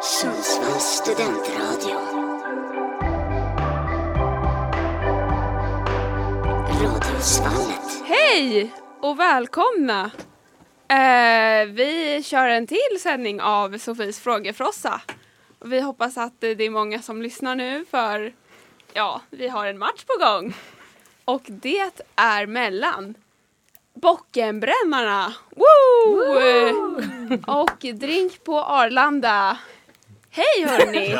Sundsvalls studentradio. Radiosvallet. Hej och välkomna! Eh, vi kör en till sändning av Sofies frågefrossa. Och Vi hoppas att eh, det är många som lyssnar nu för ja, vi har en match på gång. Och det är mellan Bockenbrännarna Woo! och Drink på Arlanda. Hej hörni!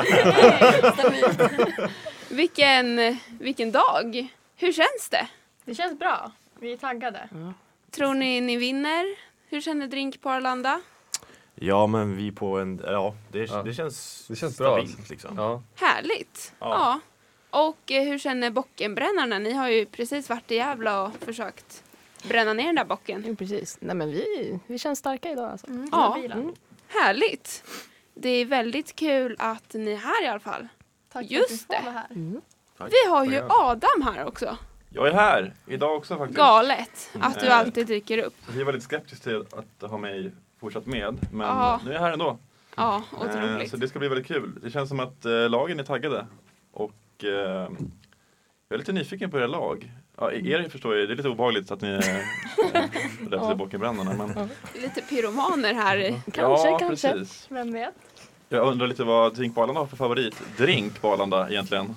vilken, vilken dag! Hur känns det? Det känns bra. Vi är taggade. Tror ni ni vinner? Hur känner Drink på Arlanda? Ja men vi på en, ja det, Ja. det känns Det känns bra. stabilt liksom. Ja, Härligt! Ja. Ja. Och eh, hur känner bockenbrännarna? Ni har ju precis varit i Gävle och försökt bränna ner den där bocken. Mm. Jo, precis. Nej, men vi, vi känns starka idag. Alltså. Ja. Stabila. Mm. Härligt! Det är väldigt kul att ni är här i alla fall. Tack Just för att vi får det. vara här. Vi har ju Adam här Mm. också. Jag är här idag också faktiskt. Galet att du Mm. alltid dyker upp. Vi var lite skeptiska till att ha mig fortsatt med, men Ja. nu är jag här ändå. Ja, Eh, otroligt. Så det ska bli väldigt kul. Det känns som att eh, lagen är taggade. Och eh, jag är lite nyfiken på era lag. Ja, Mm. er förstår jag, det är lite obehagligt att ni är eh, rädda för bockenbrännarna. Men, Lite pyromaner här. i- Kanske, ja, kanske. Precis. Vem vet? Jag undrar lite vad Drink på Arlanda har för favoritdrink på Arlanda egentligen.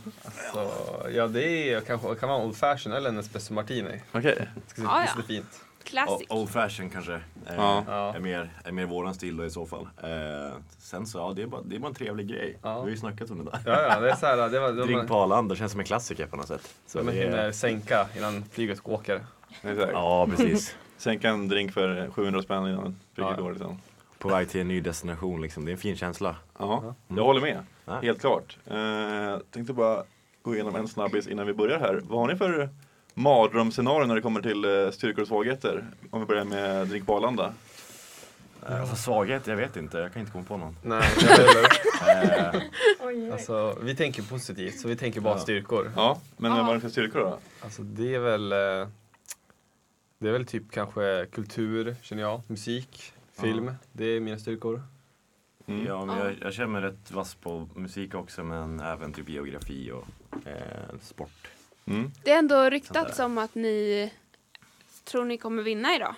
så, ja det är, kanske, kan vara old fashion eller en espresso martini. Okej. Det ska se Ja, ja. det ska se fint. Classic. O- Old fashion kanske. eh, Ja. Ja. Är, mer, är mer våran stil då i så fall. Eh, sen så, ja det är bara, det är bara en trevlig grej. Ja. Vi har ju snackat om det där. Ja, ja, det är så här, det var, det Drink var, på Arlanda känns som en klassiker på något sätt. Så man det hinner är, sänka innan flyget åker. Exakt. ja precis. Sänka en drink för 700 spänn innan brygget Ja. går. Liksom. På väg till en ny destination liksom. Det är en fin känsla. Ja, jag håller med. Ja. Helt klart. Eh, tänkte bara gå igenom en snabbis innan vi börjar här. Vad har ni för mardrömsscenario när det kommer till eh, styrkor och svagheter? Om vi börjar med Drink på Arlanda. Alltså svaghet, jag vet inte. Jag kan inte komma på någon. Nej, inte jag heller. Oj, oj. alltså, vi tänker positivt, så vi tänker bara styrkor. Ja, men Ja. vad är det för styrkor då? Alltså, det är väl eh, Det är väl typ kanske kultur, känner jag. Musik, film. Det är mina styrkor. Mm. Ja, men jag, jag känner mig rätt vass på musik också men även typ geografi och eh, sport. Mm. Det är ändå ryktats om att ni tror ni kommer vinna idag.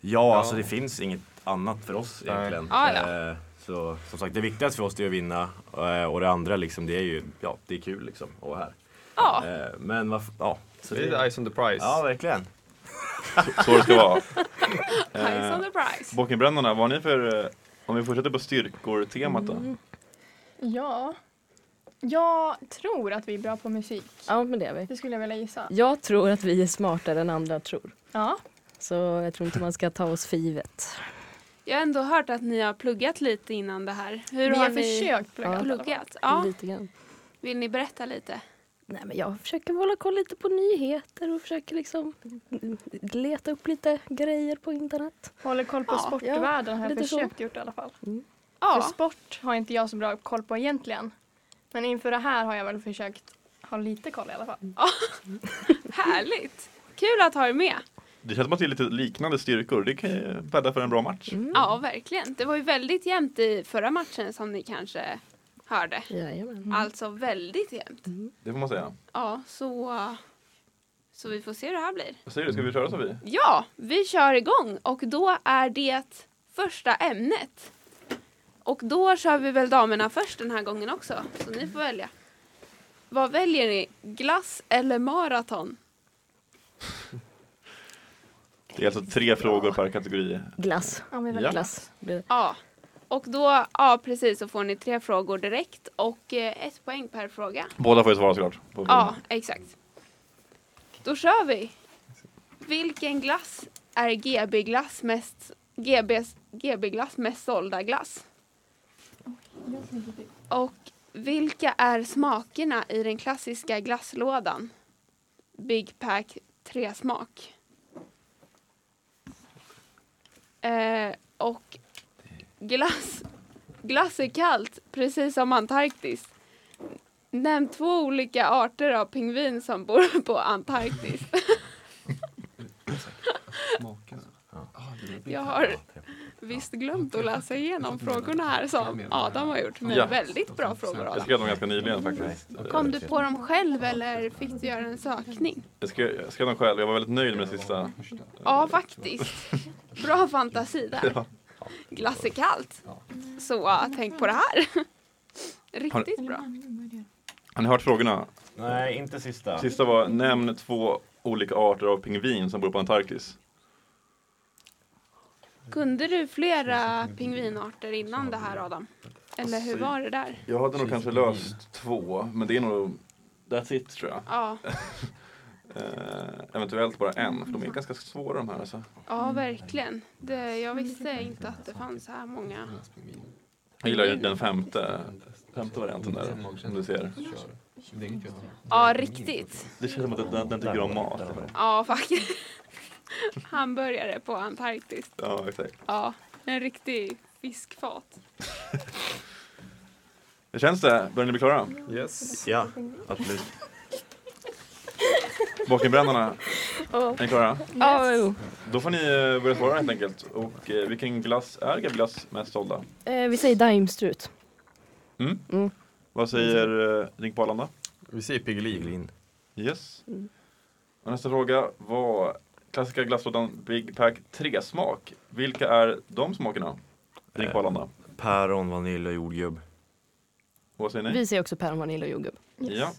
Ja, alltså det finns inget annat för oss egentligen. Ah, ja. Eh, Så som sagt, det viktigaste för oss det är att vinna eh, och det andra liksom, det är ju, ja, det är kul liksom att vara här. Ja, Eh, Men varför, ja. Så Det är eyes on the prize. ja, verkligen. Så det ska vara. eyes on Eh, the prize. Bockenbrännarna, vad har ni för eh, om vi fortsätter på styrkor-temat då? Mm. Ja. Jag tror att vi är bra på musik. Ja, men det är vi. Det skulle jag vilja gissa. Jag tror att vi är smartare än andra tror. Ja. Så jag tror inte man ska ta oss för givet. Jag har ändå hört att ni har pluggat lite innan det här. Hur Vi har har ni försökt plugga. i alla fall. Mm. pluggat? Ja. Lite grann. Vill ni berätta lite? Nej, men jag försöker hålla koll lite på nyheter och försöker liksom leta upp lite grejer på internet. Håller koll på Ja, sportvärlden har jag lite så. försökt gjort i alla fall. För Ja, sport har inte jag så bra koll på egentligen. Men inför det här har jag väl försökt ha lite koll i alla fall. härligt! Kul att ha er med. Det känns som att det är lite liknande styrkor. Det kan ju bädda för en bra match. Mm. Ja, verkligen. Det var ju väldigt jämnt i förra matchen som ni kanske hörde. Mm. Jajamän. Alltså väldigt jämnt. Det får man säga. Ja, så, så vi får se hur det här blir. Vad säger du, ska vi köra så vi? Ja, vi kör igång och då är det första ämnet. Och då kör vi väl damerna först den här gången också, så ni får välja. Vad väljer ni? Glass eller maraton? Det är alltså tre frågor per kategori. Glass. Ja, men Ja. väl. Glass blir det. Ja. Och då, ja precis, så får ni tre frågor direkt och eh, ett poäng per fråga. Båda får ju svara såklart. på Ja, exakt. Då kör vi. Vilken glass är GB glass mest GBs, GB glass mest sålda glass? Och vilka är smakerna i den klassiska glasslådan? Big Pack tre smak. Eh, och glass, glass är kallt, precis som Antarktis. Nämn två olika arter av pingvin som bor på Antarktis. Jag har visst glömt att läsa igenom frågorna här som Adam har gjort. Men Ja. väldigt bra frågor Jag Adam. skrev dem ganska nyligen faktiskt. Eh, Kom du på dem själv eller fick du göra en sökning? Jag skrev, jag skrev dem själv, jag var väldigt nöjd med den sista. Ja, faktiskt. Bra fantasi där. Glass är kallt. Så äh, tänk på det här. Riktigt bra. Har ni hört frågorna? Nej, inte sista. Sista var, nämn två olika arter av pingvin som bor på Antarktis. Kunde du flera pingvinarter innan det här Adam? Eller hur var det där? Jag hade nog kanske löst två, men det är nog That's it tror jag. Ja, Eh, eventuellt bara en, för de är ganska svåra de här alltså. ja verkligen. Det, jag visste inte att det fanns så här många. Jag gillar ju den femte, femte varianten där, som du ser. Ja, riktigt. Det känns som att den, den tycker om mat. Ja, faktiskt. Hamburgare på Antarktis. Ja, exakt. Ja, en riktig fiskfat. Hur känns det? Börjar ni bli klara? Yes. Ja, absolut. Bakenbrännarna, Ja. är ni klara? Oh. Då får ni eh, börja svara helt enkelt. Och eh, vilken glass är Gabi glass mest sålda? Eh, vi säger daimstrut. Vad säger eh, Rink på Arlanda? Vi säger Piggelin. Igelin. Yes. Och nästa fråga var klassiska glasslådan Big Pack 3-smak. Vilka är de smakerna? Rink på Arlanda. Päron, vanilj och jordgubb. Och vad säger ni? Vi säger också päron, vanilj och jordgubb. Ja.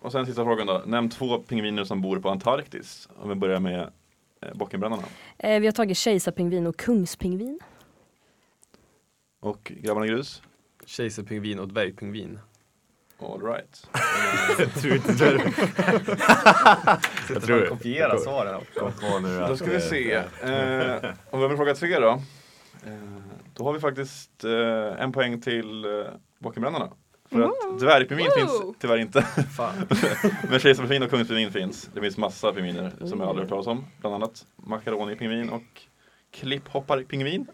Och sen sista frågan då. Nämn två pingviner som bor på Antarktis. Om vi börjar med eh, Bockenbrännarna. Eh, vi har tagit kejsarpingvin och kungspingvin. Och Grabbarna Grus? Kejsarpingvin och dvärgpingvin. All right. Jag tror inte det. Jag tror det. Kopiera svaren också. Kom på nu Då att, ska vi eh, se. Eh, om vi har fråga tre då. Eh, då har vi faktiskt eh, en poäng till eh, Bakenbrännarna. För att dvärgpingvin Wow. finns tyvärr inte. Fan. Men kejsarpingvin och kungspingvin finns. Det finns massa pingviner som jag aldrig hört talas om. Bland annat makaronipingvin och klipphopparpingvin.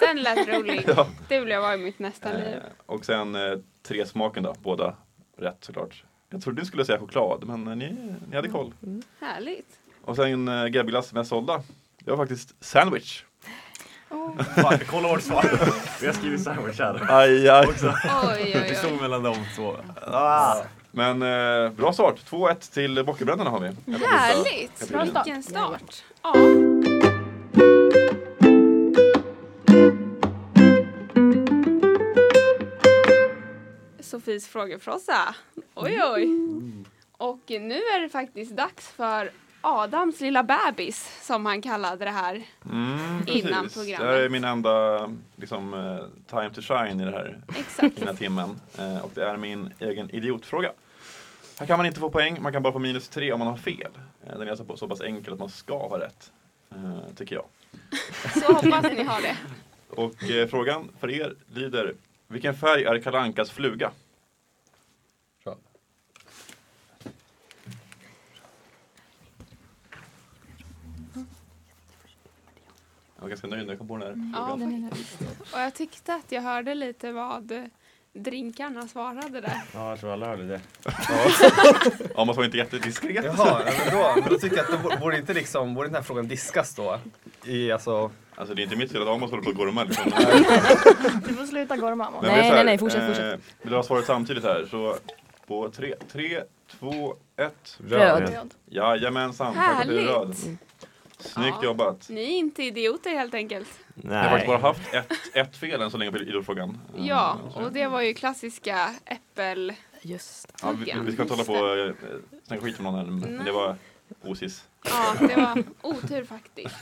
Den lät rolig. Ja. Det vill jag vara i mitt nästa liv. Eh, och sen eh, tre smaken då, båda rätt såklart. Jag trodde ni skulle säga choklad, men eh, ni, ni hade koll. Härligt. Och sen eh, Gabbiglass mest sålda. Det var faktiskt sandwich. Fan, kolla vårt svar. Vi har skrivit sandwich här. Aj, aj. Oj, Vi oj, oj. stod mellan de två. Ah. Men eh, bra start, 2-1 till Bockenbrännarna har vi. Härligt. Bra start. Vilken start. Ja. Sofies frågefrossa. Oj, oj. Och nu är det faktiskt dags för Adams lilla bebis, som han kallade det här. Mm, Innan precis. programmet. Det här är min enda liksom, eh, time to shine i, det här, i Exakt. den här timmen. Eh, och det är min egen idiotfråga. Här kan man inte få poäng, man kan bara få minus tre om man har fel. Eh, den är alltså så pass enkel att man ska ha rätt, eh, tycker jag. Så hoppas ni har det. Och eh, frågan för er lyder, vilken färg är Kalankas fluga? Jag var ganska nöjd när jag kom på den här Mm. Ja, frågan. faktiskt. Och jag tyckte att jag hörde lite vad eh, drinkarna svarade där. Ja, jag tror alla hörde det. Ja, man var inte jättediskret. Jaha, ja, men då, men då tycker jag att då borde- borde inte liksom, borde den här frågan diskas då? I alltså, Alltså det är inte mitt fel att Amos håller på att gorma liksom. Du får sluta gorma Amon. Men det är så här, nej, nej, fortsätt, fortsätt. eh, Vill du ha svaret samtidigt här? Så på tre, tre, två, ett. Röd. Röd. Jajamensan, tack för att du är Härligt. röd. Snyggt Ja. jobbat. Ni är inte idioter helt enkelt. Jag har Nej. faktiskt bara haft ett, ett fel än så länge på idrottsfrågan. Eh, Ja, så- och det var ju klassiska äppel... Just Ja, vi, vi ska inte hålla på och eh, snacka skit om någon här, men det var osis. Ja, det var otur faktiskt.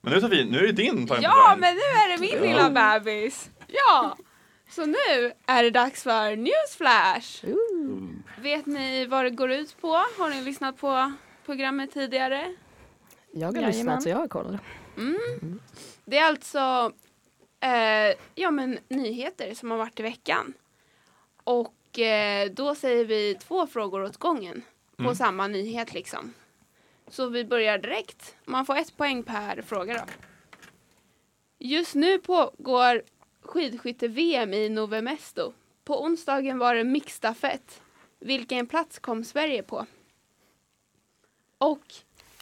Men nu Sofie, nu är det din time Ja, men nu är det min lilla bebis! Ja! Så nu är det dags för Newsflash! Vet ni vad det går ut på? Har ni lyssnat på programmet tidigare? Jag har Jajamän. lyssnat så jag har kollat. Det är alltså eh, ja, men nyheter som har varit i veckan. Och eh, då säger vi två frågor åt gången på samma nyhet liksom. Så vi börjar direkt. Man får ett poäng per fråga då. Just nu pågår skidskytte-VM i Novemesto. På onsdagen var det mixstafett. Vilken plats kom Sverige på? Och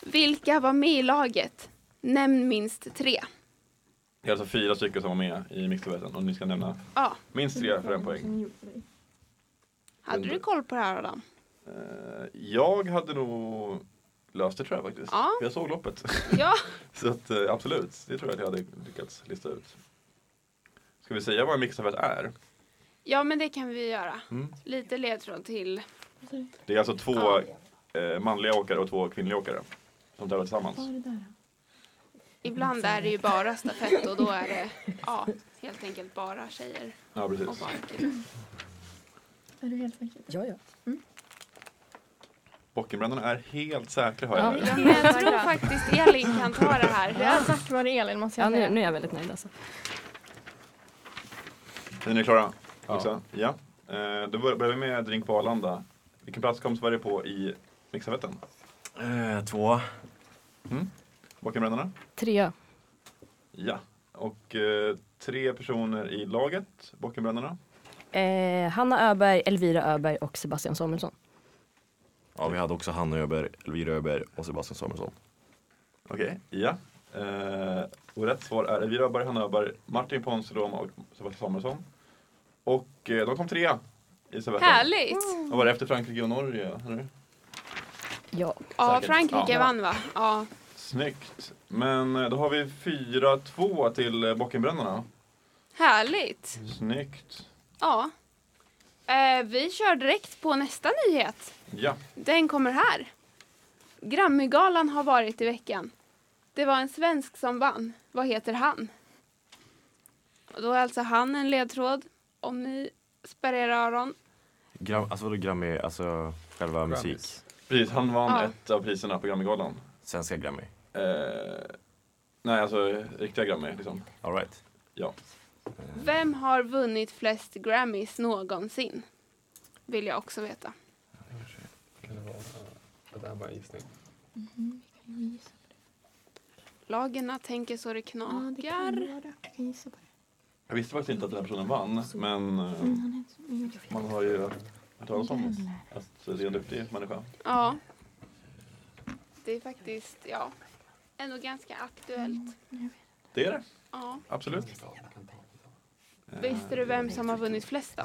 vilka var med i laget? Nämn minst tre. Det är alltså fyra stycken som var med i mixduetten och ni ska nämna Ja. minst tre för en poäng. Hade du koll på det här Adam? Eh, Jag hade nog löst det tror jag faktiskt. Ja. Jag såg loppet. Ja. Så att, eh, absolut, det tror jag att jag hade lyckats lista ut. Ska vi säga vad en mixduett är? Ja men det kan vi göra. Mm. Lite ledtråd till. Det är alltså två Ja. eh, manliga åkare och två kvinnliga åkare som tävlar tillsammans. Ibland är det ju bara stafett och då är det ja, helt enkelt bara tjejer Ja, och precis. bara killar. Ja, ja. Bockenbrännarna är helt säkra hör jag nu. Ja, Men jag tror faktiskt Elin kan ta det Det här. är tack vare Elin måste ja jag nu, säga. nu är jag väldigt nöjd alltså. Är ni klara? Ja. Också? Ja. Eh, Då bör- börjar vi med Drink på Arlanda. Vilken plats kom Sverige på i mixduetten? Eh, två. Bockenbrännarna? Trea. Ja. Och eh, tre personer i laget, Bockenbrännarna. Eh, Hanna Öberg, Elvira Öberg och Sebastian Samuelsson. Ja, vi hade också Hanna Öberg, Elvira Öberg och Sebastian Samuelsson. Okej. Ja. Eh, och rätt svar är Elvira Öberg, Hanna Öberg, Martin Ponsiluoma och Sebastian Samuelsson. Och eh, de kom trea i duetten. Härligt! Och var det efter Frankrike och Norge? Eller? Ja. Ja, Säkert. Frankrike Ja. vann va? Ja. Snyggt. Men eh, då har vi 4-2 till eh, Bockenbrännarna. Härligt! Snyggt. Ja. Eh, vi kör direkt på nästa nyhet. Ja. Den kommer här. Grammygalan har varit i veckan. Det var en svensk som vann. Vad heter han? Och då är alltså han en ledtråd om ni spärrar era öron. Gram, alltså vadå Grammy, alltså själva musik? Grammis. Precis, han vann Ja. ett av priserna på Grammygalan. Svenska Grammy. Eh, nej, alltså riktiga Grammy liksom. Alright. Ja. Vem har vunnit flest Grammys någonsin? Vill jag också veta. Det där var en gissning. Lagerna tänker så det knakar. Jag visste faktiskt inte att den här personen vann, men eh, Mm, man har ju hört talas om att det är en duktig människa. Ja. Det är faktiskt, ja, ändå ganska aktuellt. Det är det, Ja. absolut. Visste du vem som har vunnit flest då?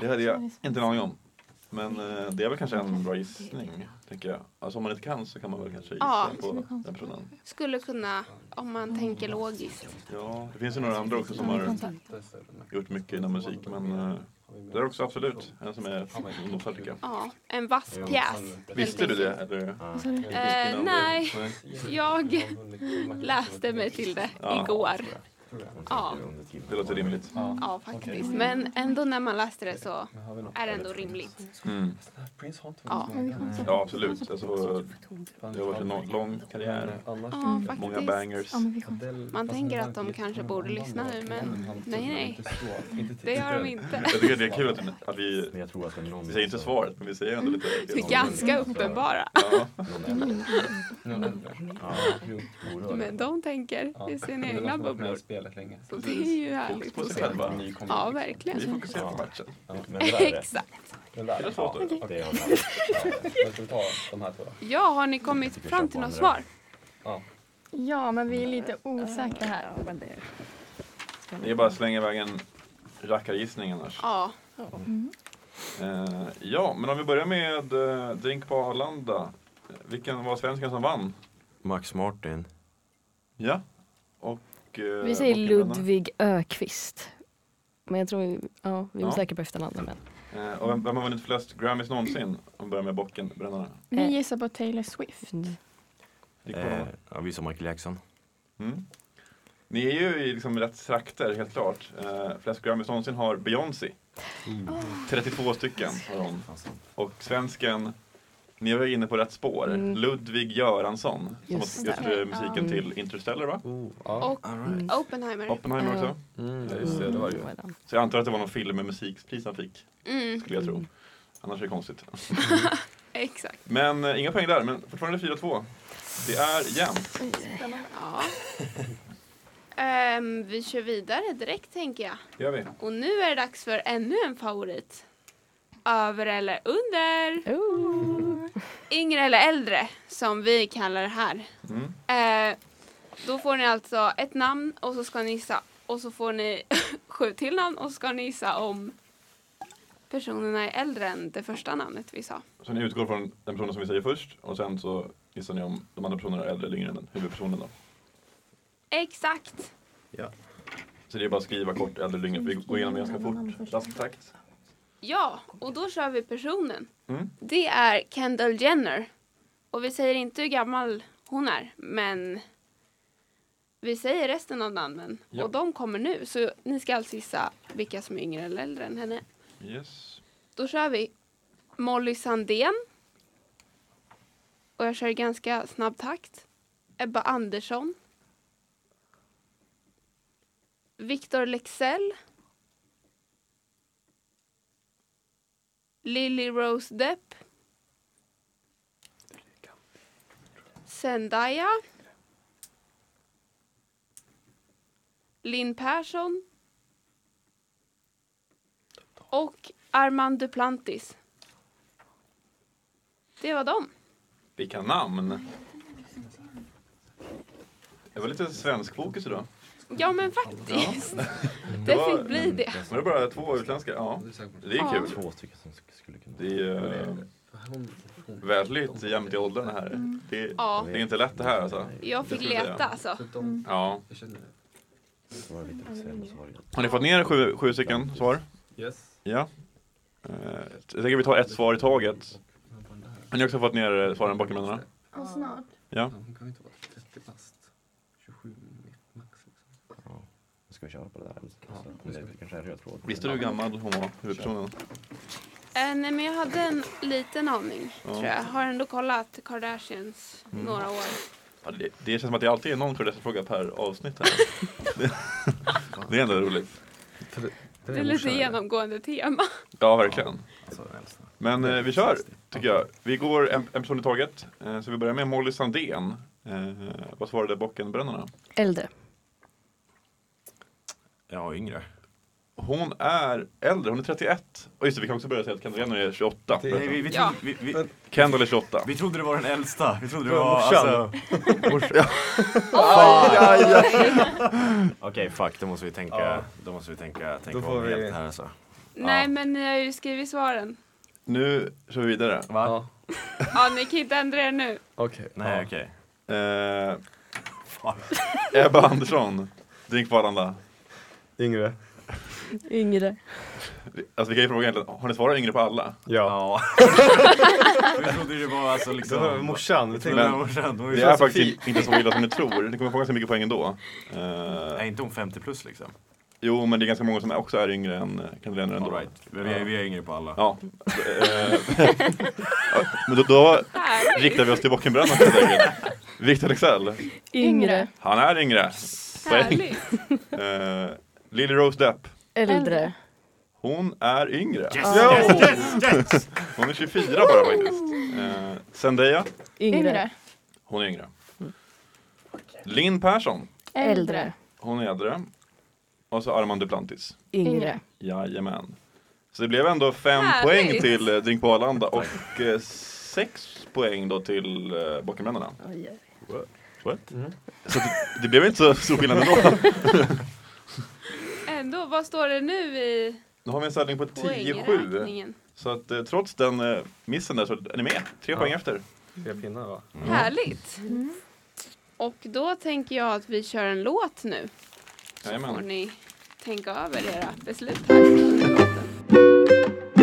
Det hade jag inte en aning om. Men eh, det är väl kanske en bra gissning, tänker jag. Alltså om man inte kan så kan man väl kanske gissa Ja. på den personen. Skulle kunna, om man tänker logiskt. Ja, det finns ju några andra också som har gjort mycket inom musik, men eh, det är också absolut en som är från Nordafrika. Ja, en vass pjäs. helt Visste du det? enkelt. Eller? Eh, nej, jag läste mig till det Ja. igår. Ja, Det låter rimligt. ja, faktiskt. Men ändå när man läste det så är det ändå rimligt. Mm. Ja, Ja, absolut. Alltså, det har varit en lång- lång karriär. ja Många faktiskt. bangers. Man tänker att de kanske borde lyssna nu, men nej, nej. Det gör de inte. Jag tycker att det är kul att, att vi, Men jag tror att det är någon... vi säger inte svaret, men vi säger ändå lite. Det är ganska uppenbara. Ja, Men de tänker i sina egna bubblor. spelat länge. Så det är ju härligt på att sig se. själva. Ja, Vi verkligen. fokuserar på matchen. Exakt. Det är svårt. då. Det är Ja, har ni kommit fram till något svar? Ja, men vi är lite osäkra här. Eh, Det är bara att slänga iväg en rackargissning annars. Ja. Eh, ja, men om vi börjar med eh, Drink på Arlanda. Vilken var svensken som vann? Max Martin. Ja. Och... eh, Vi säger Bockenbrännarna. Ludvig Öqvist. Men jag tror, vi- ja, vi är Ja. osäkra på efternamnet. Men. Eh, och vem, vem har vunnit flest Grammys någonsin? Om vi börjar med Bockenbrännarna. Vi Eh, gissar på Taylor Swift. Drink på Eh, Arlanda. ja, vi sa Michael Jackson. Mm. Ni är ju i liksom rätt trakter, helt klart. Eh, flest Grammys någonsin har Beyoncé. Mm. Ah. 32 stycken har hon. Och svensken, ni var inne på rätt spår, Ludvig Göransson. Som Mm. Just har gjort eh, musiken till Interstellar, va? Och Mm. Oppenheimer. Oppenheimer också. Ja, just Oh, Mm, det, det var det ju. Så jag antar att det var någon film med musikpris han fick, Mm, skulle jag tro. Annars är det konstigt. exakt. Men eh, inga poäng där, men fortfarande 4-2. Det är jämnt. Ja. Ehm, vi kör vidare direkt, tänker jag. Det gör vi. Och nu är det dags för ännu en favorit. Över eller under? Mm. Yngre eller äldre, som vi kallar det här. Mm. Eh, Då får ni alltså ett namn och så ska ni gissa. Och så får ni sju till namn och så ska ni gissa om personerna är äldre än det första namnet vi sa. Så ni utgår från den personen som vi säger först och sen så gissar ni om de andra personerna är äldre eller yngre än den huvudpersonen då. Exakt! Så det är bara att skriva kort äldre eller yngre för vi går igenom ganska fort. Rasktakt. Ja, och då kör vi personen. Mm. Det är Kendall Jenner. Och vi säger inte hur gammal hon är, men vi säger resten av namnen. Ja. Och de kommer nu, så ni ska alltså gissa vilka som är yngre eller äldre än henne. Yes. Då kör vi Molly Sandén. Och jag kör i ganska snabb takt. Ebba Andersson. Viktor Lexell. Lily Rose Depp. Zendaya. Linn Persson. Och Armand Duplantis. Det var dem. Vilka namn! Det var lite svensk fokus idag. Ja men faktiskt. Det var- fick bli det. Var det bara två utländska? Ja, det är Ja. kul. Två stycken som sk- skulle kunna... Det är eh, väldigt jämnt i åldrarna här. Det, Ja, det är inte lätt det här alltså. jag fick Det skulle jag leta säga. alltså. Ja. Så var det lite Excel och så var det- Har ni fått ner sju, sju stycken svar? Yes. Ja. Eh, Jag tänker vi tar ett svar i taget. Har ni också fått ner eh, svaren bakom händerna? Ja, snart. Ja. Hon kan ju inte vara 30 bast. 27 meter max. Liksom. Ska vi köra på det där? Så, det är kanske är en röd tråd. Visste du hur gammal hon var, huvudpersonen? Äh, nej men jag hade en liten aning Ja. tror jag. Har ändå kollat Kardashians Mm. några år. Ja, det, det känns som att det alltid är någon fråga per avsnitt här. Det, det är ändå roligt. Det är lite genomgående tema. Ja, verkligen. Alltså, den äldsta. Men eh, vi kör, tycker jag. Vi går en, en person i taget. Eh, så vi börjar med Molly Sandén. Eh, vad svarade Bockenbrännarna? Äldre. Ja, yngre. Hon är äldre, hon är 31. Och just det, vi kan också börja säga att Kendall Jenner är 28. Nej, vi, vi, Ja. trodde, vi, vi, Kendall är 28. vi trodde det var den äldsta. Vi trodde det Det var... var Alltså, Okej, fuck. Då måste vi tänka, Ja. då måste vi tänka, tänka Då om får vi- helt här alltså. Nej men ni har ju skrivit svaren. Nu kör vi vidare. Va? Ja. Ja ni kan inte ändra er nu. Okej. Nej, Ja. okej. Eh, Fan. Ebba Andersson, Drink på Arlanda. Yngre. Yngre. Alltså vi kan ju fråga egentligen, har ni svarat yngre på alla? Ja. Ja. vi trodde det var alltså Det var liksom... morsan. Vi Men, tänkte- Men- morsan, hon är Det ju är så- faktiskt inte så illa som ni tror. Ni kommer få ganska mycket poäng ändå. Är Eh, inte hon 50 plus liksom? jo, men det är ganska många som också är yngre än eh, Kendall Jenner All ändå. right. Vi, är, vi är yngre på alla. Ja. Eh, ja, men då, då Här. riktar vi oss till Bockenbrännaren helt enkelt. Victor Leksell, Yngre. han är yngre. Poäng. Härligt. Eh, Lily Rose Depp, Äldre. hon är yngre. Yes, yes, yes, yes! Hon är 24 bara faktiskt. Eh, Zendaya, Yngre. Yngre. hon är yngre. Linn Persson, Äldre. hon är äldre. Och så Armand Duplantis. Yngre. Yngre. Jajamän. Så det blev ändå fem Härligt. poäng till eh, Drink på Arlanda och eh, sex poäng då till eh, Bockenbrännarna. Oj, What? Mm. Så det, det blev inte så stor skillnad ändå. Ändå, vad står det nu i Nu har vi en ställning på 10-7. poängräkningen? Så att eh, trots den eh, missen där så är ni med. Tre Ja. poäng efter. Tre pinnar va? Härligt. Och då tänker jag att vi kör en låt nu. får Jajamän. ni tänka över era beslut här under låten.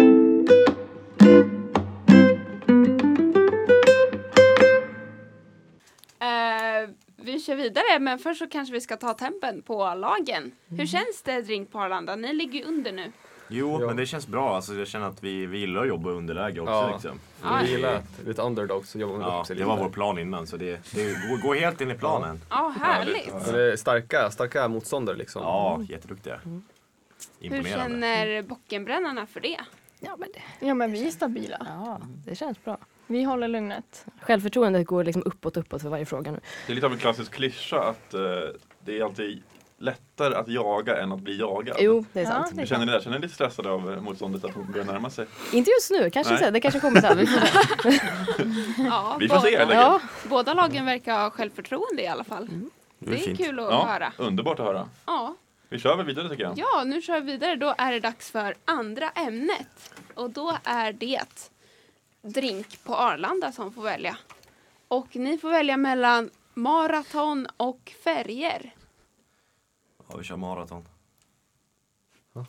Eh, vi kör vidare, men först så kanske vi ska ta tempen på lagen. Hur känns det, Drink på Arlanda? Ni ligger ju under nu. Jo, Ja. men det känns bra. Alltså, jag känner att vi, vi gillar att jobba i underläge också. Ja. Liksom. Ja, Vi gillar att lite underdogs så jobbar man Ja, upp sig det lite. var vår plan innan, så det, det går, går helt in i planen. Ja, härligt. Men det är starka, starka motståndare liksom. Ja, jätteduktiga. Mm. Hur Imponerande. känner Bockenbrännarna för det? Ja, men det, Ja, men vi är stabila. ja, det känns bra. Vi håller lugnet. Självförtroendet går liksom uppåt, uppåt för varje fråga nu. Det är lite av en klassisk klyscha att eh, det är alltid lättare att jaga än att bli jagad. Jo, det är sant. Hur känner ni där? Känner ni lite stressade av eh, motståndet att hon börjar närma sig? Inte just nu, kanske Nej. sen. Det kanske kommer sen. Vi får se. Ja, Vi får se, båda- eller? Ja, Båda lagen verkar ha självförtroende i alla fall. är Det är fint. kul att Ja, höra. underbart att höra. Ja. Vi kör väl vidare tycker jag. ja, nu kör vi vidare. Då är det dags för andra ämnet. Och då är det drink på Arlanda som får välja. Och ni får välja mellan maraton och färger. Ja, vi kör maraton.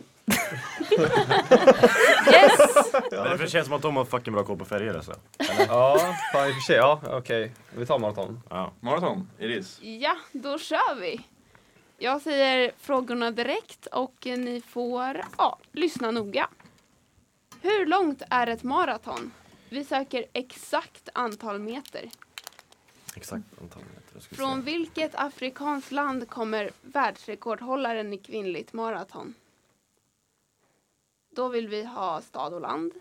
Yes! Men det känns som att de har fucking bra koll på färger alltså. Ja, fan i och för sig. Ja, okej. Vi tar maraton. Ja. Maraton, Iris. Ja, då kör vi. Jag säger frågorna direkt och ni får ja, lyssna noga. Hur långt är ett maraton? Vi söker exakt antal meter. Exakt antal meter. ska vi se. Från vilket afrikanskt land kommer världsrekordhållaren i kvinnligt maraton? Då vill vi ha stad och land.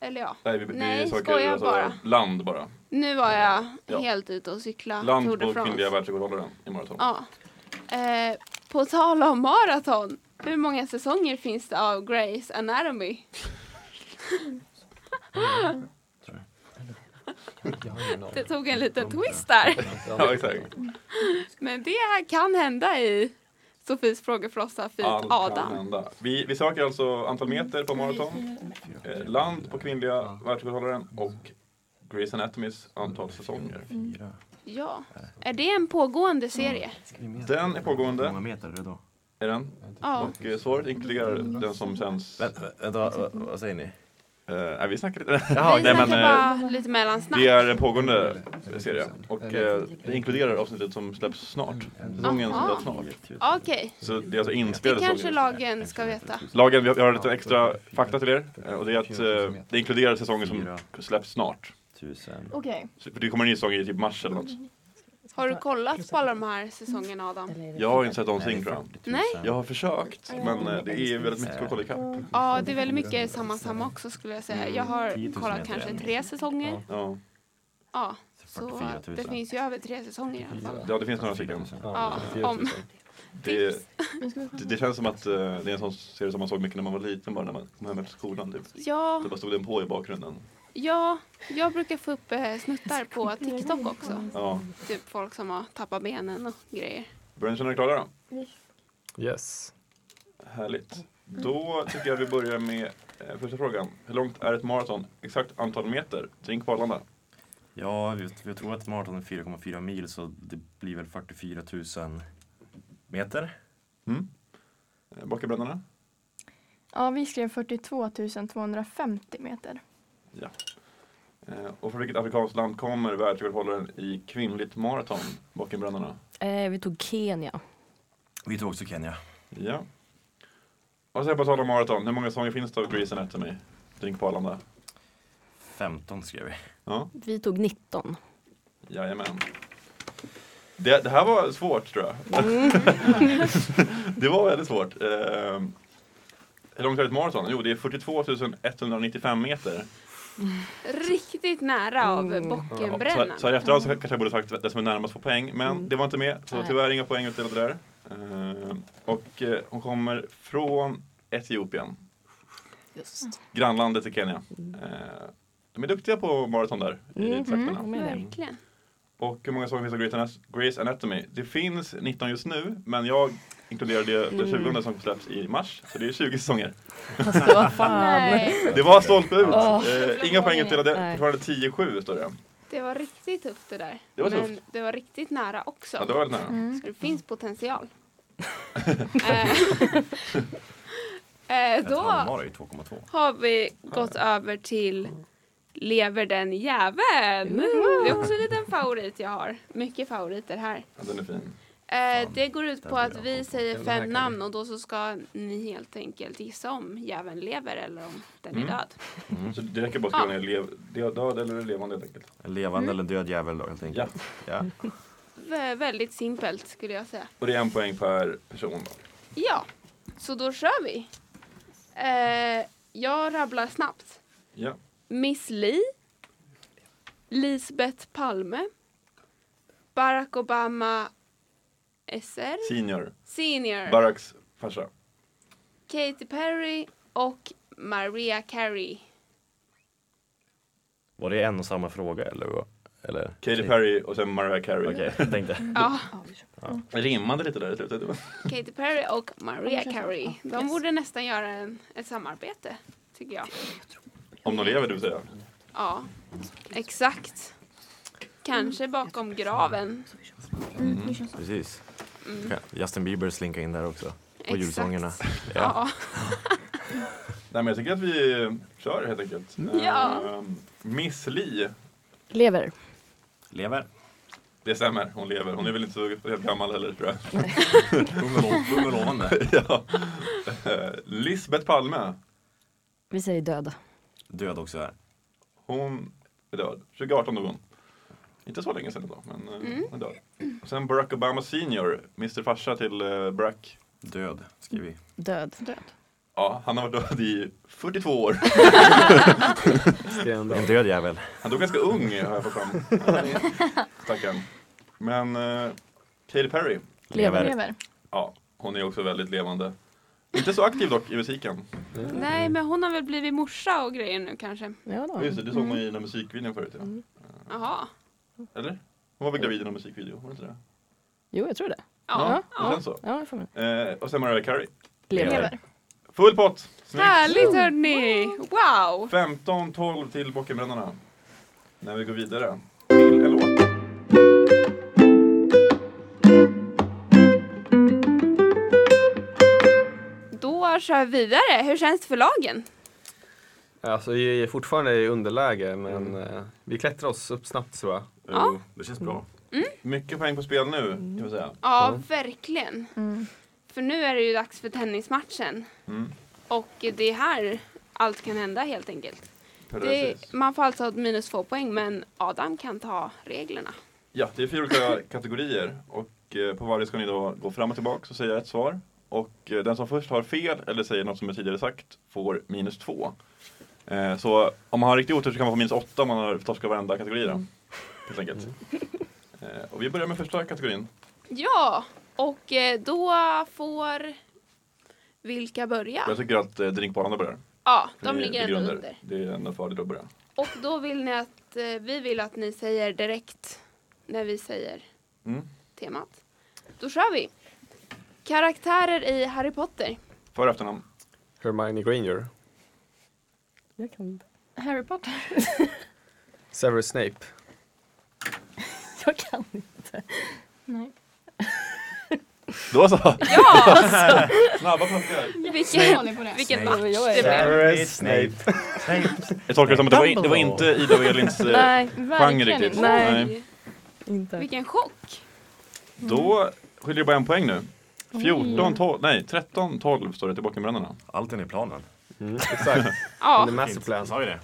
Eller ja, Nej, vi, Nej, vi söker skojar alltså bara. land bara. nu var jag Ja. helt ute och cykla Tour Land de på France. kvinnliga världsrekordhållaren i maraton. Ja. Eh, på tal om maraton. Hur många säsonger finns det av Grey's Anatomy? Mm. Jag har ingen aning. Det tog en liten twist där. Ja, exakt. Men det kan hända i Sofies frågefrossa feat Allt kan Adam. hända. Vi, vi söker alltså antal meter på maraton, eh, land på kvinnliga världsrekordhållaren och Grey's Anatomys antal säsonger. Mm. Fyra. Ja. Är det en pågående serie? Mm. Den är Hur pågående, många meter är det då? är den. Ja. Och eh, svaret inkluderar den som sänds... Vänta, vä- vänta vad- vad- vad säger ni? Eh, nej, vi snackar lite. Jaha, Vi nej, men, eh, snackar bara lite mellansnack. Det är en pågående serie och eh, det inkluderar avsnittet som släpps snart. Säsongen som Aha. släpps snart. Okej, Så det är alltså det inspelade kanske säsonger. lagen ska veta. Lagen, vi har, vi har lite extra fakta till er eh, och det är att eh, det inkluderar säsongen som släpps snart. Tusen. Okej. Så- För det kommer en ny säsong i typ mars eller något. Har du kollat på alla de här säsongerna Adam? Jag har inte sett någonting tror jag. Nej. Jag har försökt men eh, det är väldigt mycket att kolla ikapp. Ja, det är väldigt mycket samma samma också skulle jag säga. Jag har 10 000 kollat heter kanske det. tre säsonger. Mm. Ja, Ja, så 44 000. det finns ju över tre säsonger i alla fall. ja det finns några stycken. Ja, om. Det, det, det känns som att eh, det är en sån serie som man såg mycket när man var liten bara när man kom hem efter skolan. Typ. Ja, Då bara stod den på i bakgrunden. ja, jag brukar få upp eh, snuttar på TikTok också. Ja. Typ folk som har tappat benen och grejer. Börjar ni känna er klara då? Yes. Härligt. Då tycker jag vi börjar med eh, första frågan. Hur långt är ett maraton? Exakt antal meter? Drink på Arlanda. Ja, vi- jag tror att maraton är 4,4 mil så det blir väl 44 000 meter. Mm. Eh, Baka brännarna? Ja, vi skrev 42 250 meter. Eh, Och från vilket afrikanskt land kommer världsrekordhållaren i kvinnligt maraton? Baka brännarna? Eh, vi tog Kenya. Vi tog också Kenya. Ja. Och sen på tal om maraton, hur många säsonger finns det av Grey's Anatomy? Drink på Arlanda? 15 skrev vi. Ja, Vi tog 19. jajamän. Det, det här var svårt tror jag. det var väldigt svårt. Eh, hur långt är ett maraton? Jo, det är 42 195 meter. Riktigt nära av bockenbrännan. Så, så här i efterhand så kanske jag borde sagt det som är närmast på poäng, men det var inte med. Så Nej. tyvärr inga poäng utöver det där. Eh, och eh, hon kommer från Etiopien, Just. grannlandet till Kenya. Eh, de är duktiga på maraton där i Mm. trakterna. Verkligen. Och hur många sånger finns av Grey's Anat- Grey's Anatomy? Det finns 19 just nu, men jag inkluderar det, det 20 som släpps i mars, så det är 20 säsonger. Alltså vad fan. Nej, Det var stolpe ut! Ja. Eh, inga poäng utdelade, Nej. fortfarande 10-7 står det. det var riktigt tufft det där. Det var Men tufft. det var riktigt nära också. Ja, det var väldigt nära. Så det finns potential. Eh, eh, Ett då halvmara är ju 2,2. har vi gått över till Lever den jäveln? Det är också en liten favorit jag har. Mycket favoriter här. Ja, den är fin. Eh, det går ut på där att blir jag vi säger Den här fem kan namn och då så ska ni helt enkelt gissa om jäveln lever eller om den är Mm. död. Så det räcker bara att skriva ner lev, lev, död eller levande helt enkelt. En Mm. levande eller död jävel då helt Ja. enkelt. Ja. Vä- väldigt simpelt skulle jag säga. Och det är en poäng per person. Då. Ja, så då kör vi. Eh, jag rabblar snabbt. Ja. Miss Li. Lisbeth Palme. Barack Obama SR. Senior, Senior. Baracks farsa. Katy Perry och Maria Carey. Var det en och samma fråga eller? Typ. vad? Eller? Katy Perry och sen Mariah Carey. Okej, jag tänkte. Ja, Rimmade lite där i slutet. Katy Perry och Maria Carey. De borde nästan göra en, ett samarbete, tycker jag. Om de lever, du vill säga. Ja, exakt. Kanske bakom graven. Precis. Kan Justin Bieber slinka in där också. På Mm. Exakt. julsångerna. Ja. Nej, men jag tycker att vi eh, kör helt enkelt. Ja. Eh, Miss Li, Lever. Lever. det stämmer, hon lever. Hon är väl inte så helt gammal heller tror jag. Ung och lovande. ja. Eh, Lisbeth Palme, Vi säger död. Död också här. hon är död. 2018 dog hon. Inte så länge sedan då, men eh, hon är död. Och sen Barack Obama senior, Mr farsa till eh, Barack. Död, skriver vi. Död. Död. Ja, han har varit död i 42 år. Sten. Mm. En död jävel. Han dog ganska ung har jag fått fram. Ja, Stackarn. Men eh, Katy Perry, Lever. Lever. ja, hon är också väldigt levande. Inte så aktiv dock i musiken. Nej, men hon har väl blivit morsa och grejer nu kanske. Ja, då. Ja, Just det, det såg man ju i den här musikvideon förut. Ja. Jaha. Eller? Hon var väl gravid i någon musikvideo? Var det inte det? Jo, jag tror det. Ja. Det känns så. Ja, jag får med. Eh, och sen Mariah Carey. Lever. Lever. Full pott! Snyggt! Härligt hörni! Wow! 15-12 till Bockenbrännarna. När vi går vidare till en låt. Då kör vi vidare. Hur känns det för lagen? Alltså, vi är fortfarande i underläge, men Mm. eh, vi klättrar oss upp snabbt tror jag. Ja. Oh, Mm. Jo, Det känns bra. Mycket poäng på spel nu, kan vi säga. Ja, verkligen. För nu är det ju dags för tennismatchen. Mm. Och det är här allt kan hända helt enkelt. Det, Precis. man får alltså ett minus två poäng men Adam kan ta reglerna. Ja, det är fyra olika kategorier och eh, på varje ska ni då gå fram och tillbaka och säga ett svar. Och eh, den som först har fel eller säger något som är tidigare sagt får minus två. Eh, Så om man har riktigt otur så kan man få minus åtta om man har torskat varenda kategori då. Helt enkelt. Eh, Och vi börjar med första kategorin. Ja, och eh, då får vilka börja? Jag tycker att eh, drinkbanan börjar. Ja, de Vi ligger ändå under. Det är en fördel att börja. Och då vill ni att, eh, vi vill att ni säger direkt när vi säger Mm. temat. Då kör vi! Karaktärer i Harry Potter. För och efternamn. Hermione Granger. Jag kan, Harry Potter. Severus Snape. jag kan inte. Nej. Då så! Ja! Snabba puckar! Vilken, på det. vilken Snape. match det blev. Snape. Jag tolkar det som att det var, in, det var inte Dumbledore. Ida och Elins eh, Nej, genre verkligen riktigt. inte. Nej. Oj, inte. Vilken chock! Då skiljer det bara en poäng nu. 14, 12, nej 13, 12 står det till Bockenbrännarna. Allting i planen. Mm, exakt. Ja, The masterplan. Jag sa ju det.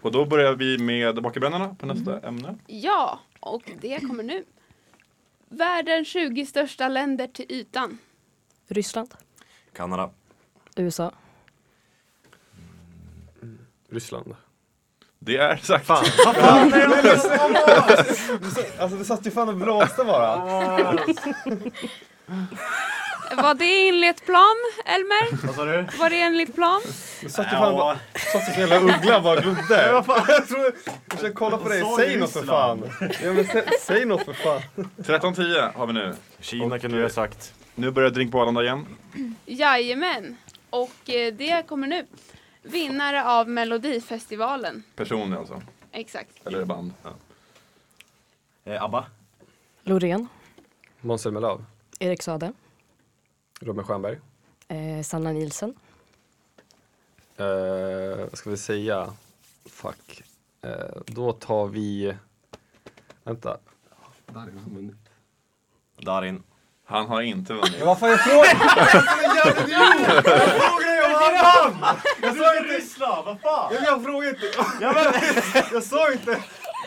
Och då börjar vi med Bockenbrännarna på nästa ämne. ja, och det kommer nu. Världens 20 största länder till ytan. Ryssland. Kanada. USA. Ryssland. Det är sagt. Fan. Alltså du satt ju fan och blåste bara. Var det enligt plan, Elmer? Vad sa du? Var det enligt plan? Du satt ju fan och bara, satt ju som en jävla uggla och bara glodde. Jag tror- jag försöker kolla på dig, Sa säg du något för Ryssland? fan. Ja, men sä, säg något för fan. 13, 10 har vi nu. Kina kunde du ha sagt. Nu börjar Drink på Arlanda igen. Jajamän. Och eh, det kommer nu. Vinnare av Melodifestivalen. Personer alltså, Exakt. eller band. Eh, Abba. Loreen. Måns Zelmerlöw. Erik Saade. Robin Stjernberg. Eh, Sanna Nielsen. Eh, vad ska vi säga? Fuck. Eh, då tar vi... Vänta. Darin. Han har inte vunnit. Men vad fan jag frågar! Jag är så jävla idiot! Jag frågar ju om han vann! Jag sa inte... Ryssland, vad fan! Jag, jag frågade inte. Jag sa inte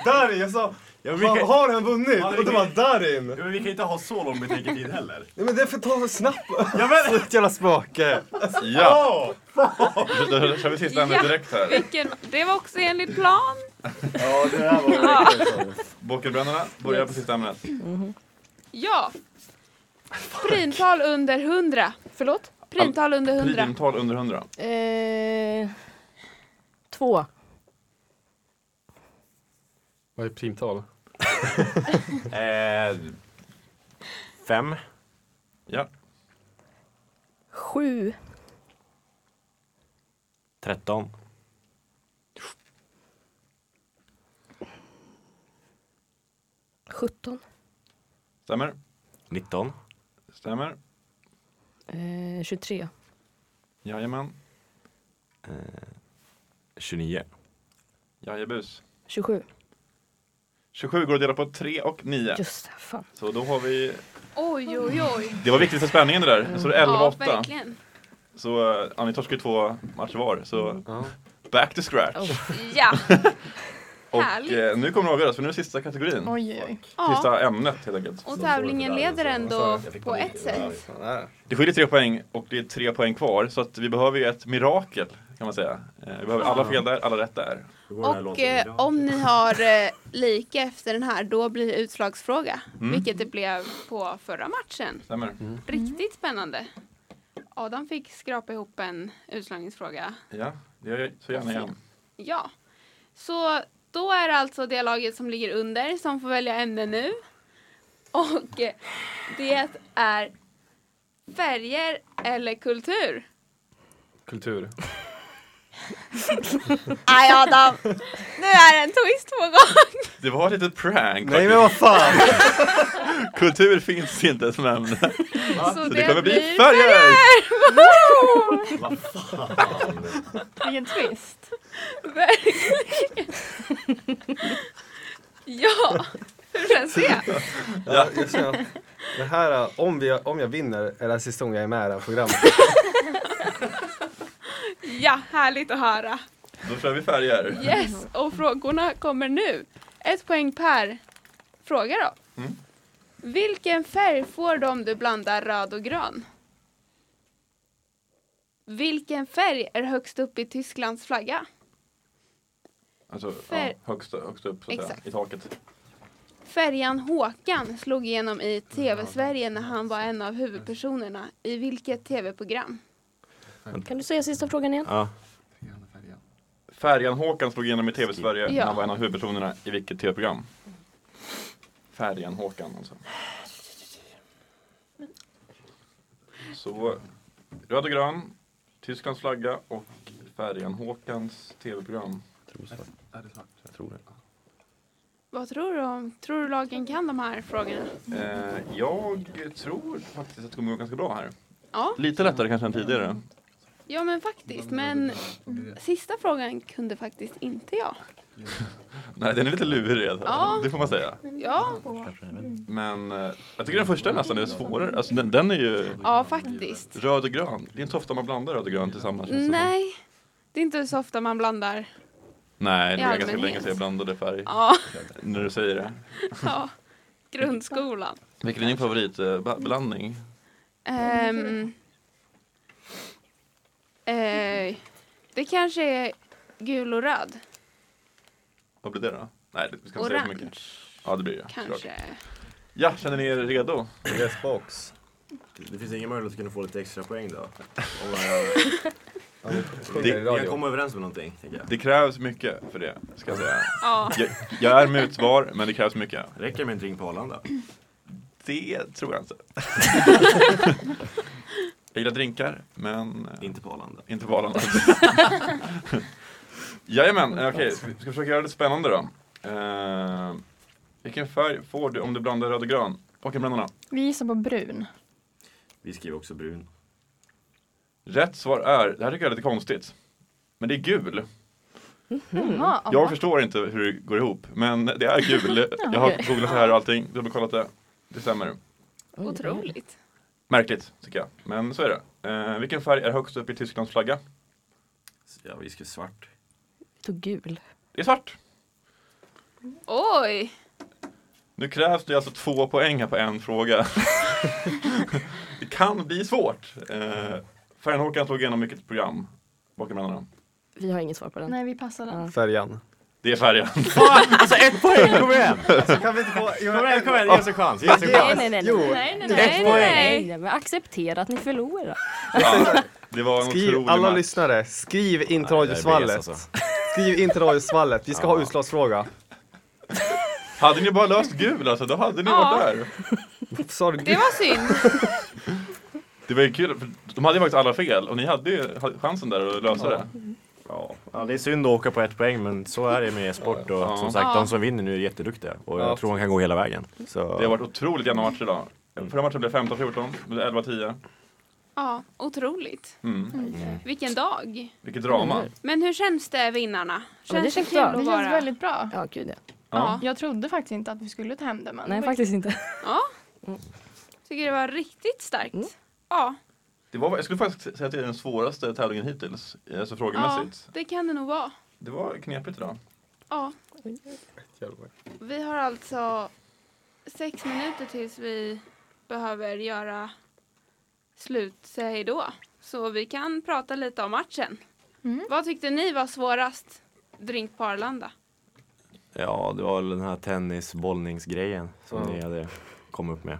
Darin, jag sa Ja, men vi har, kan- har han vunnit? Ja, vi Och det kan- var Darin. Ja, men vi kan inte ha så lång betänketid heller. Nej men det får ta så snabbt. Ja, men... Ett jävla spöke! Ja! Då då kör vi sista ämnet Ja. direkt här. Vilken, det var också enligt plan. Ja, det där var Bockenbrännarna börjar på sista ämnet. Ja. Primtal under 100. Förlåt? Primtal under 100. Primtal under 100. Eh, två. Vad är primtal? Eh, fem. Ja, Sju. Tretton. Sjutton. stämmer. Nitton. Stämmer. Eh, 23. Jajamän. Tjugonio. Jajabus. 27. 27 går att dela på 3 och 9. Just det, fan. Så då har vi... Oj, oj, oj. Det var viktigt för spänningen det där. Så det är Mm. Ja, 11-8. verkligen. så eh, ja, ni torskar ju två matcher var. Mm. Så Ja. back to scratch. Ja. och Oh, härligt. eh, nu kommer det avgöras för nu är sista kategorin. Oj, oj, oj. ja. Sista ämnet helt enkelt. Och tävlingen leder ändå på ett sätt. Fan, Det skiljer tre poäng och det är tre poäng kvar. Så att vi behöver ju ett mirakel kan man säga. Eh, Vi behöver alla fel där, alla rätt där. Och eh, om ni har eh, lika efter den här, då blir det utslagsfråga. Mm. Vilket det blev på förra matchen. Stämmer. Mm. Riktigt spännande. Adam fick skrapa ihop en utslagningsfråga. Ja, det gör jag så gärna igen. Ja. Så då är det alltså det laget som ligger under som får välja ämne nu. Och eh, det är färger eller kultur. Kultur. Nej Adam, nu är det en twist på gång. Det var ett litet prank Nej faktiskt. men vad fan! Kultur finns inte som ämne. Så Så det kommer bli färger! Vilken twist. Verkligen. ja, hur känns det? Ja. Ja, jag känner att det här, om, vi, om jag vinner är det här sista gången jag är med i det här programmet. Ja, härligt att höra. Då kör vi färger. Yes, och frågorna kommer nu. Ett poäng per fråga då. Mm. Vilken färg får du om du blandar röd och grön? Vilken färg är högst upp i Tysklands flagga? Alltså, ja, Fär- högst, högst upp så att säga, Exakt. i taket. Färjan Håkan slog igenom i TV-Sverige när han var en av huvudpersonerna i vilket TV-program? Kan du säga sista frågan igen? Ja. Färjan Håkan slog igenom i TV-Sverige när Ja. han var en av huvudpersonerna i vilket TV-program? Färjan Håkan alltså. Så, röd och grön, Tysklands flagga och Färjan Håkans TV-program. Jag tror det. Vad tror du om? Tror du lagen kan de här frågorna? Eh, jag tror faktiskt att det kommer gå ganska bra här. Ja, Lite lättare kanske än tidigare. ja men faktiskt. Men sista frågan kunde faktiskt inte jag. Nej, den är lite lurig. Alltså. Ja. Det får man säga. Ja, Men eh, jag tycker den första nästan är svårare. Alltså, den, den är ju ja faktiskt. röd och grön. Det är inte så ofta man blandar röd och grön tillsammans. känns det som. Nej, det är inte så ofta man blandar. Nej, det I var ganska allmänhet. länge sedan jag blandade färg. Ja, När du säger det. ja. grundskolan. Vilken är din eh, favoritblandning? Ehm, eh, det kanske är gul och röd. Vad blir det då? Nej, det- vi ska inte säga för Orange mycket. Ja, det blir det. såklart. kanske. Ja, känner ni er redo? Yes box. Det finns ingen möjlighet att kunna få lite extra poäng då? Om Ja, vi sjunger Det- i radio. jag, jag kommer överens med någonting, tänker jag. Det krävs mycket för det, ska jag säga. Ja, Jag, jag är mutbar, men det krävs mycket. Räcker det med en drink på Arlanda? Det tror jag inte. jag gillar drinkar, men eh, Inte på Arlanda. inte valarna. Jajamän, eh, okej, vi ska försöka göra det spännande då. Eh, vilken färg får du om du blandar röd och grön? Plocka brännarna. Vi gissar på brun. Vi skriver också brun. Rätt svar är, det här tycker jag är lite konstigt, men det är gul. Jaha, Jag förstår inte hur det går ihop, men det är gul. Jag har googlat det här och allting, dubbelkollat det. Det stämmer. otroligt. Märkligt, tycker jag. Men så är det. Eh, vilken färg är högst upp i Tysklands flagga? Så, Ja, vi skrev svart. Tog gul. Det är svart! Oj, Nu krävs det alltså två poäng här på en fråga. det kan bli svårt. Eh, Färjan-Håkan slog igenom mycket program bakom brännarna. Vi har inget svar på den. Nej, vi passar den. Ja. Färjan. Det är färjan. Alltså ett poäng, kom igen! Alltså, Kan vi inte få... Kom igen, kom igen, ge oss en chans! Ge oss en Nej, chans! nej, nej. Jo, nej. nej, nej, Ett nej, poäng. nej. Nej, men acceptera att ni förlorar. ja, det var en skriv, otrolig alla match. lyssnare, skriv in till Nej, det är BS, radiosvallet. alltså. Skriv in till radiosvallet, vi ska ha utslagsfråga. Hade ni bara löst gul alltså, då hade ni Ja. varit där. Sa du Det var synd. Det var ju kul, för de hade ju faktiskt alla fel och ni hade ju ha- chansen där att lösa det. Ja. ja, det är synd att åka på ett poäng men så är det med e-sport och Ja. som sagt Ja. de som vinner nu är jätteduktiga och Ja. jag tror de kan gå hela vägen. Så... Det har varit otroligt jämna matcher idag. Förra matchen blev 15-14, nu blev det 11-10. Ja, otroligt. Mm. Vilken dag. Vilket drama. Men hur känns det, vinnarna? Ja, men det känns kul bra. att Det vara? känns väldigt bra. Ja, gud ja. Ja. Jag trodde faktiskt inte att vi skulle ta hem det men Nej, faktiskt inte. Ja. Tycker det var riktigt starkt. Mm. Ja, Det var, jag skulle faktiskt säga att det är den svåraste tävlingen hittills, eh, alltså ja, frågemässigt. det kan det nog vara. Det var knepigt idag. Ja. Vi har alltså sex minuter tills vi behöver göra slut, säga hej då. Så vi kan prata lite om matchen. Mm. Vad tyckte ni var svårast? Drink på Arlanda. Ja, det var väl den här tennisbollningsgrejen som Ja. ni hade kommit upp med.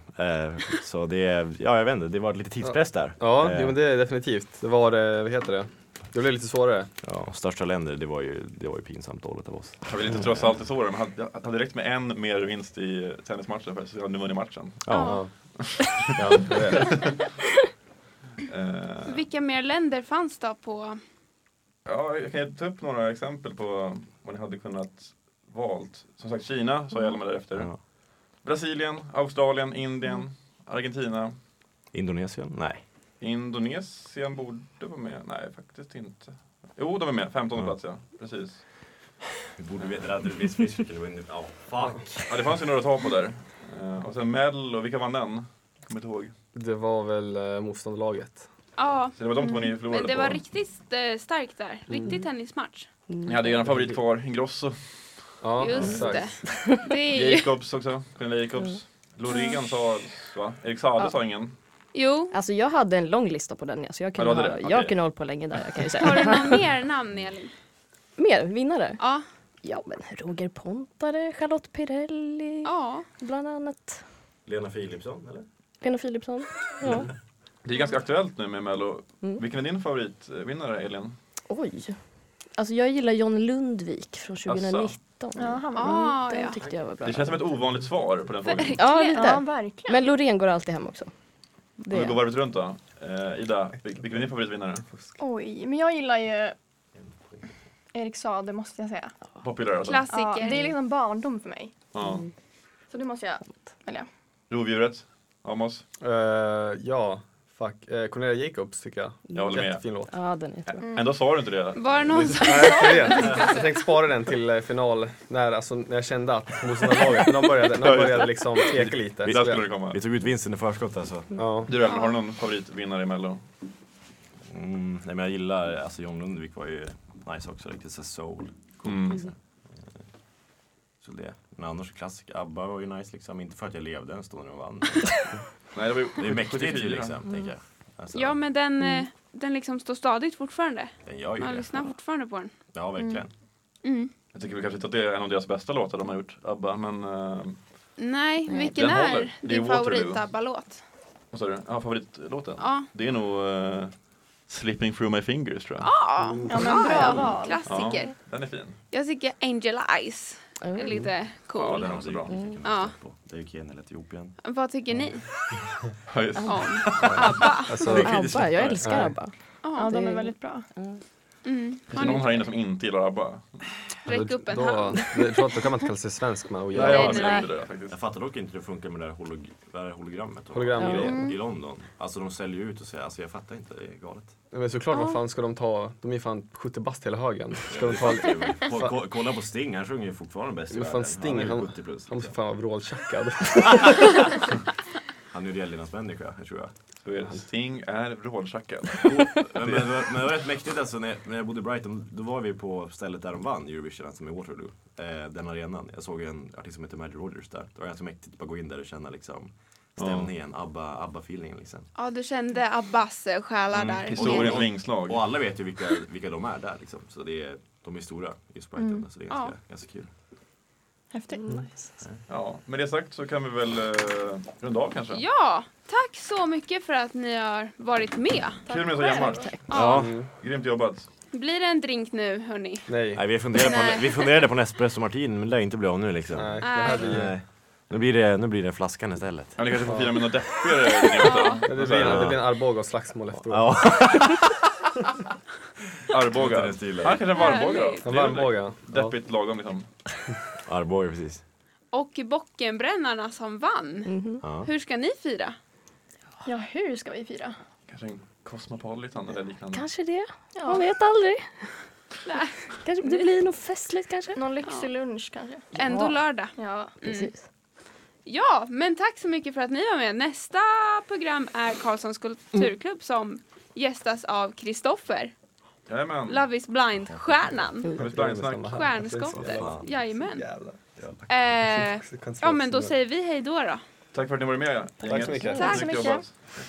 Eh, så det, ja jag vet inte, det var lite tidspress där. Ja, Eh, jo, men det är definitivt. Det var, eh, vad heter det? Det blev lite svårare. ja, och största länder, det var ju, det var ju pinsamt dåligt av oss. Jag vill inte trösta allt i såren, men hade- jag hade räckt med en mer vinst i tennismatchen för att jag hade nu vunnit matchen. Ja. Ja, det är det. Eh, Vilka mer länder fanns då på... Ja, jag kan ju ta upp några exempel på vad ni hade kunnat valt. Som sagt, Kina sa jag Elma därefter. Ja. Brasilien, Australien, Mm. Indien, Argentina, Indonesien? Nej. Indonesien borde vara med. Nej, faktiskt inte. Jo, de är med. 15 plats, ja. Precis. Vi borde veta att vi skulle vinna. Ja, fuck. Ja, det fanns ju några att ta på där. Eh, Och sen Mell och vilka vann den? Jag kommer inte ihåg. det var väl eh, motståndarlaget. Ja, Så det var de två ni Mm. men förlorade det var på. riktigt eh, starkt där. Riktig tennismatch. Ni hade ju en favorit kvar, Ingrosso. Ja, Just exakt. det. Det är ju... Jacobs också. Cornelia Jacobs. Mm. Lorigan sa, va? Erik Saade Ja. sa ingen. Jo. Alltså jag hade en lång lista på den, så jag kunde, Ja, du ha, hade det? jag Okej. kunde hålla på länge där. Jag kan ju Har du säga. någon mer namn, Elin? Mer vinnare? Ja. Ja, men Roger Pontare, Charlotte Pirelli, Ja. bland annat. Lena Philipsson eller? Lena Philipsson. Mm. Ja. Det är ganska aktuellt nu med Mello. Mm. Vilken är din favoritvinnare, Elin? Oj. Alltså jag gillar John Lundvik från 2019. Ja, han var Ah, Den ja. tyckte jag var bra. Det känns som ett ovanligt svar på den frågan. Ja, Ja, lite. verkligen. Men Loreen går alltid hem också. Det Om vi går är varvet runt då. Eh, Ida, vil- vilken är din favoritvinnare? Oj, men jag gillar ju Erik Saade måste jag säga. Popular alltså? Ja, Klassiker. det är liksom barndom för mig. Ja. Så det måste jag välja. Rovdjuret? Amos? Eh, ja, fuck. Eh, Cornelia Jacobs tycker jag. Jag håller med. Jättefin låt. Ja, den är jättebra. Ändå sa du inte det. Mm. Var det någon som... Nej, jag vet. Jag tänkte spara den till eh, final, när, alltså, när jag kände att motståndarlaget, när de började, när de började liksom tveka lite. Där skulle det komma. Vi tog ut vinsten i förskott alltså. Ja. Du Ellen, har du någon favoritvinnare i Mello? Mm, nej men jag gillar, alltså John Lundvik var ju nice också, riktigt så soul. Mm. Så det. Men annars klassiker, ABBA var ju nice liksom. Inte för att jag levde en stund när de vann. Nej, det var ju Det är mäktigt ju 74. liksom, tänker jag. Alltså, Ja, men den, eh, Mm. den liksom står stadigt fortfarande. den gör ju Man det. lyssnar fortfarande på den. Ja, verkligen. Mm. Jag tycker väl kanske inte att det är en av deras bästa låtar de har gjort, ABBA, men... eh, Nej, vilken Den är håller. Det är din Waterloo. favoritabbalåt? Vad sa du? Ja, favoritlåten? Ja. Det är nog eh, Slipping through my fingers, tror jag. Ja, Ja, men bra ja. val. klassiker. Den är fin. Jag tycker Angel Eyes är lite Mm. Ja, cool. den är också bra. Ja. Mm. Det är ju Kenya eller Etiopien. Vad tycker ni Mm. Ja, just. om? Alltså, ABBA, jag älskar ABBA. Ja, de det- är väldigt bra. Mm. Finns det någon här inne som inte gillar ABBA? Räck upp en då, hand. det- då, då kan man inte kalla sig svensk man och Nej, jag göra har inte nej. gjort det där, faktiskt. Jag fattar dock inte hur det funkar med det där holog vad är det, hologrammet. och- hologramgrejer. I London. Alltså de säljer ju ut och säger, alltså jag fattar inte, det är galet. Ja, Men såklart, vad fan ska de ta? De är ju fan 70 bast hela högen. Ska de ta... Ko- ko- Kolla på Sting, han sjunger ju fortfarande bäst i Men fan, världen. Sting, han är ju han- 70 plus. Han måste Liksom. fan vara vråltjackad. Han är ju människa, jag tror jag. Så är det. Sting är vråltjackad. Men, men, men det var rätt mäktigt alltså när, när jag bodde i Brighton, då var vi på stället där de vann Eurovision, alltså med Waterloo. Eh, den arenan. Jag såg en artist som heter Magic Rogers där. Det var ganska mäktigt att bara gå in där och känna liksom stämningen, ABBA, ABBA-feelingen liksom. Ja, du kände Abbas själar Mm, där. historien Och- på vingslag. Och alla vet ju vilka, vilka de är där liksom. Så det är, de är stora just Brighton, så det är ganska, ganska kul. Häftigt. Mm. Ja, med det sagt så kan vi väl eh, runda av kanske. Ja, tack så mycket för att ni har varit med. Kul med så jämnt. Ja. Grymt jobbat. Blir det en drink nu hörni? Nej. Nej, vi, funderade Nej. på, vi funderade på en espresso martini men det lär inte bli av nu liksom. Nej, det Nej. här blir ju... Nej. Nu blir det, nu blir det flaskan istället. Ja, ni kanske får fira med något deppigare drink då. Det blir, det blir en Arboga-slagsmål efteråt. Ja. Arboga. Den stilen. Ja, kanske en varmbåge då. Härligt. En varmbåga. Ja. Deppigt lagom liksom. Arboga precis. Och Bockenbrännarna som vann. Mm-hmm. Ja. Hur ska ni fira? Ja, hur ska vi fira? Kanske en Cosmopolitan eller liknande. Kanske det. Ja. Man vet aldrig. Nej. Kanske, det blir något festligt kanske. Någon lyxig lunch kanske? Ändå lördag. Ja. Precis. Ja, men tack så mycket för att ni var med. Nästa program är Karlssons kulturklubb som gästas av Kristoffer, Jajamän. Love is blind-stjärnan. Har vi splangsnack? Stjärnskottet. Jajamän. Jävlar. Eh, ja, men då säger vi hej då. då. Tack för att ni var med. Tack så mycket. Tack så Snyggt mycket. jobbat.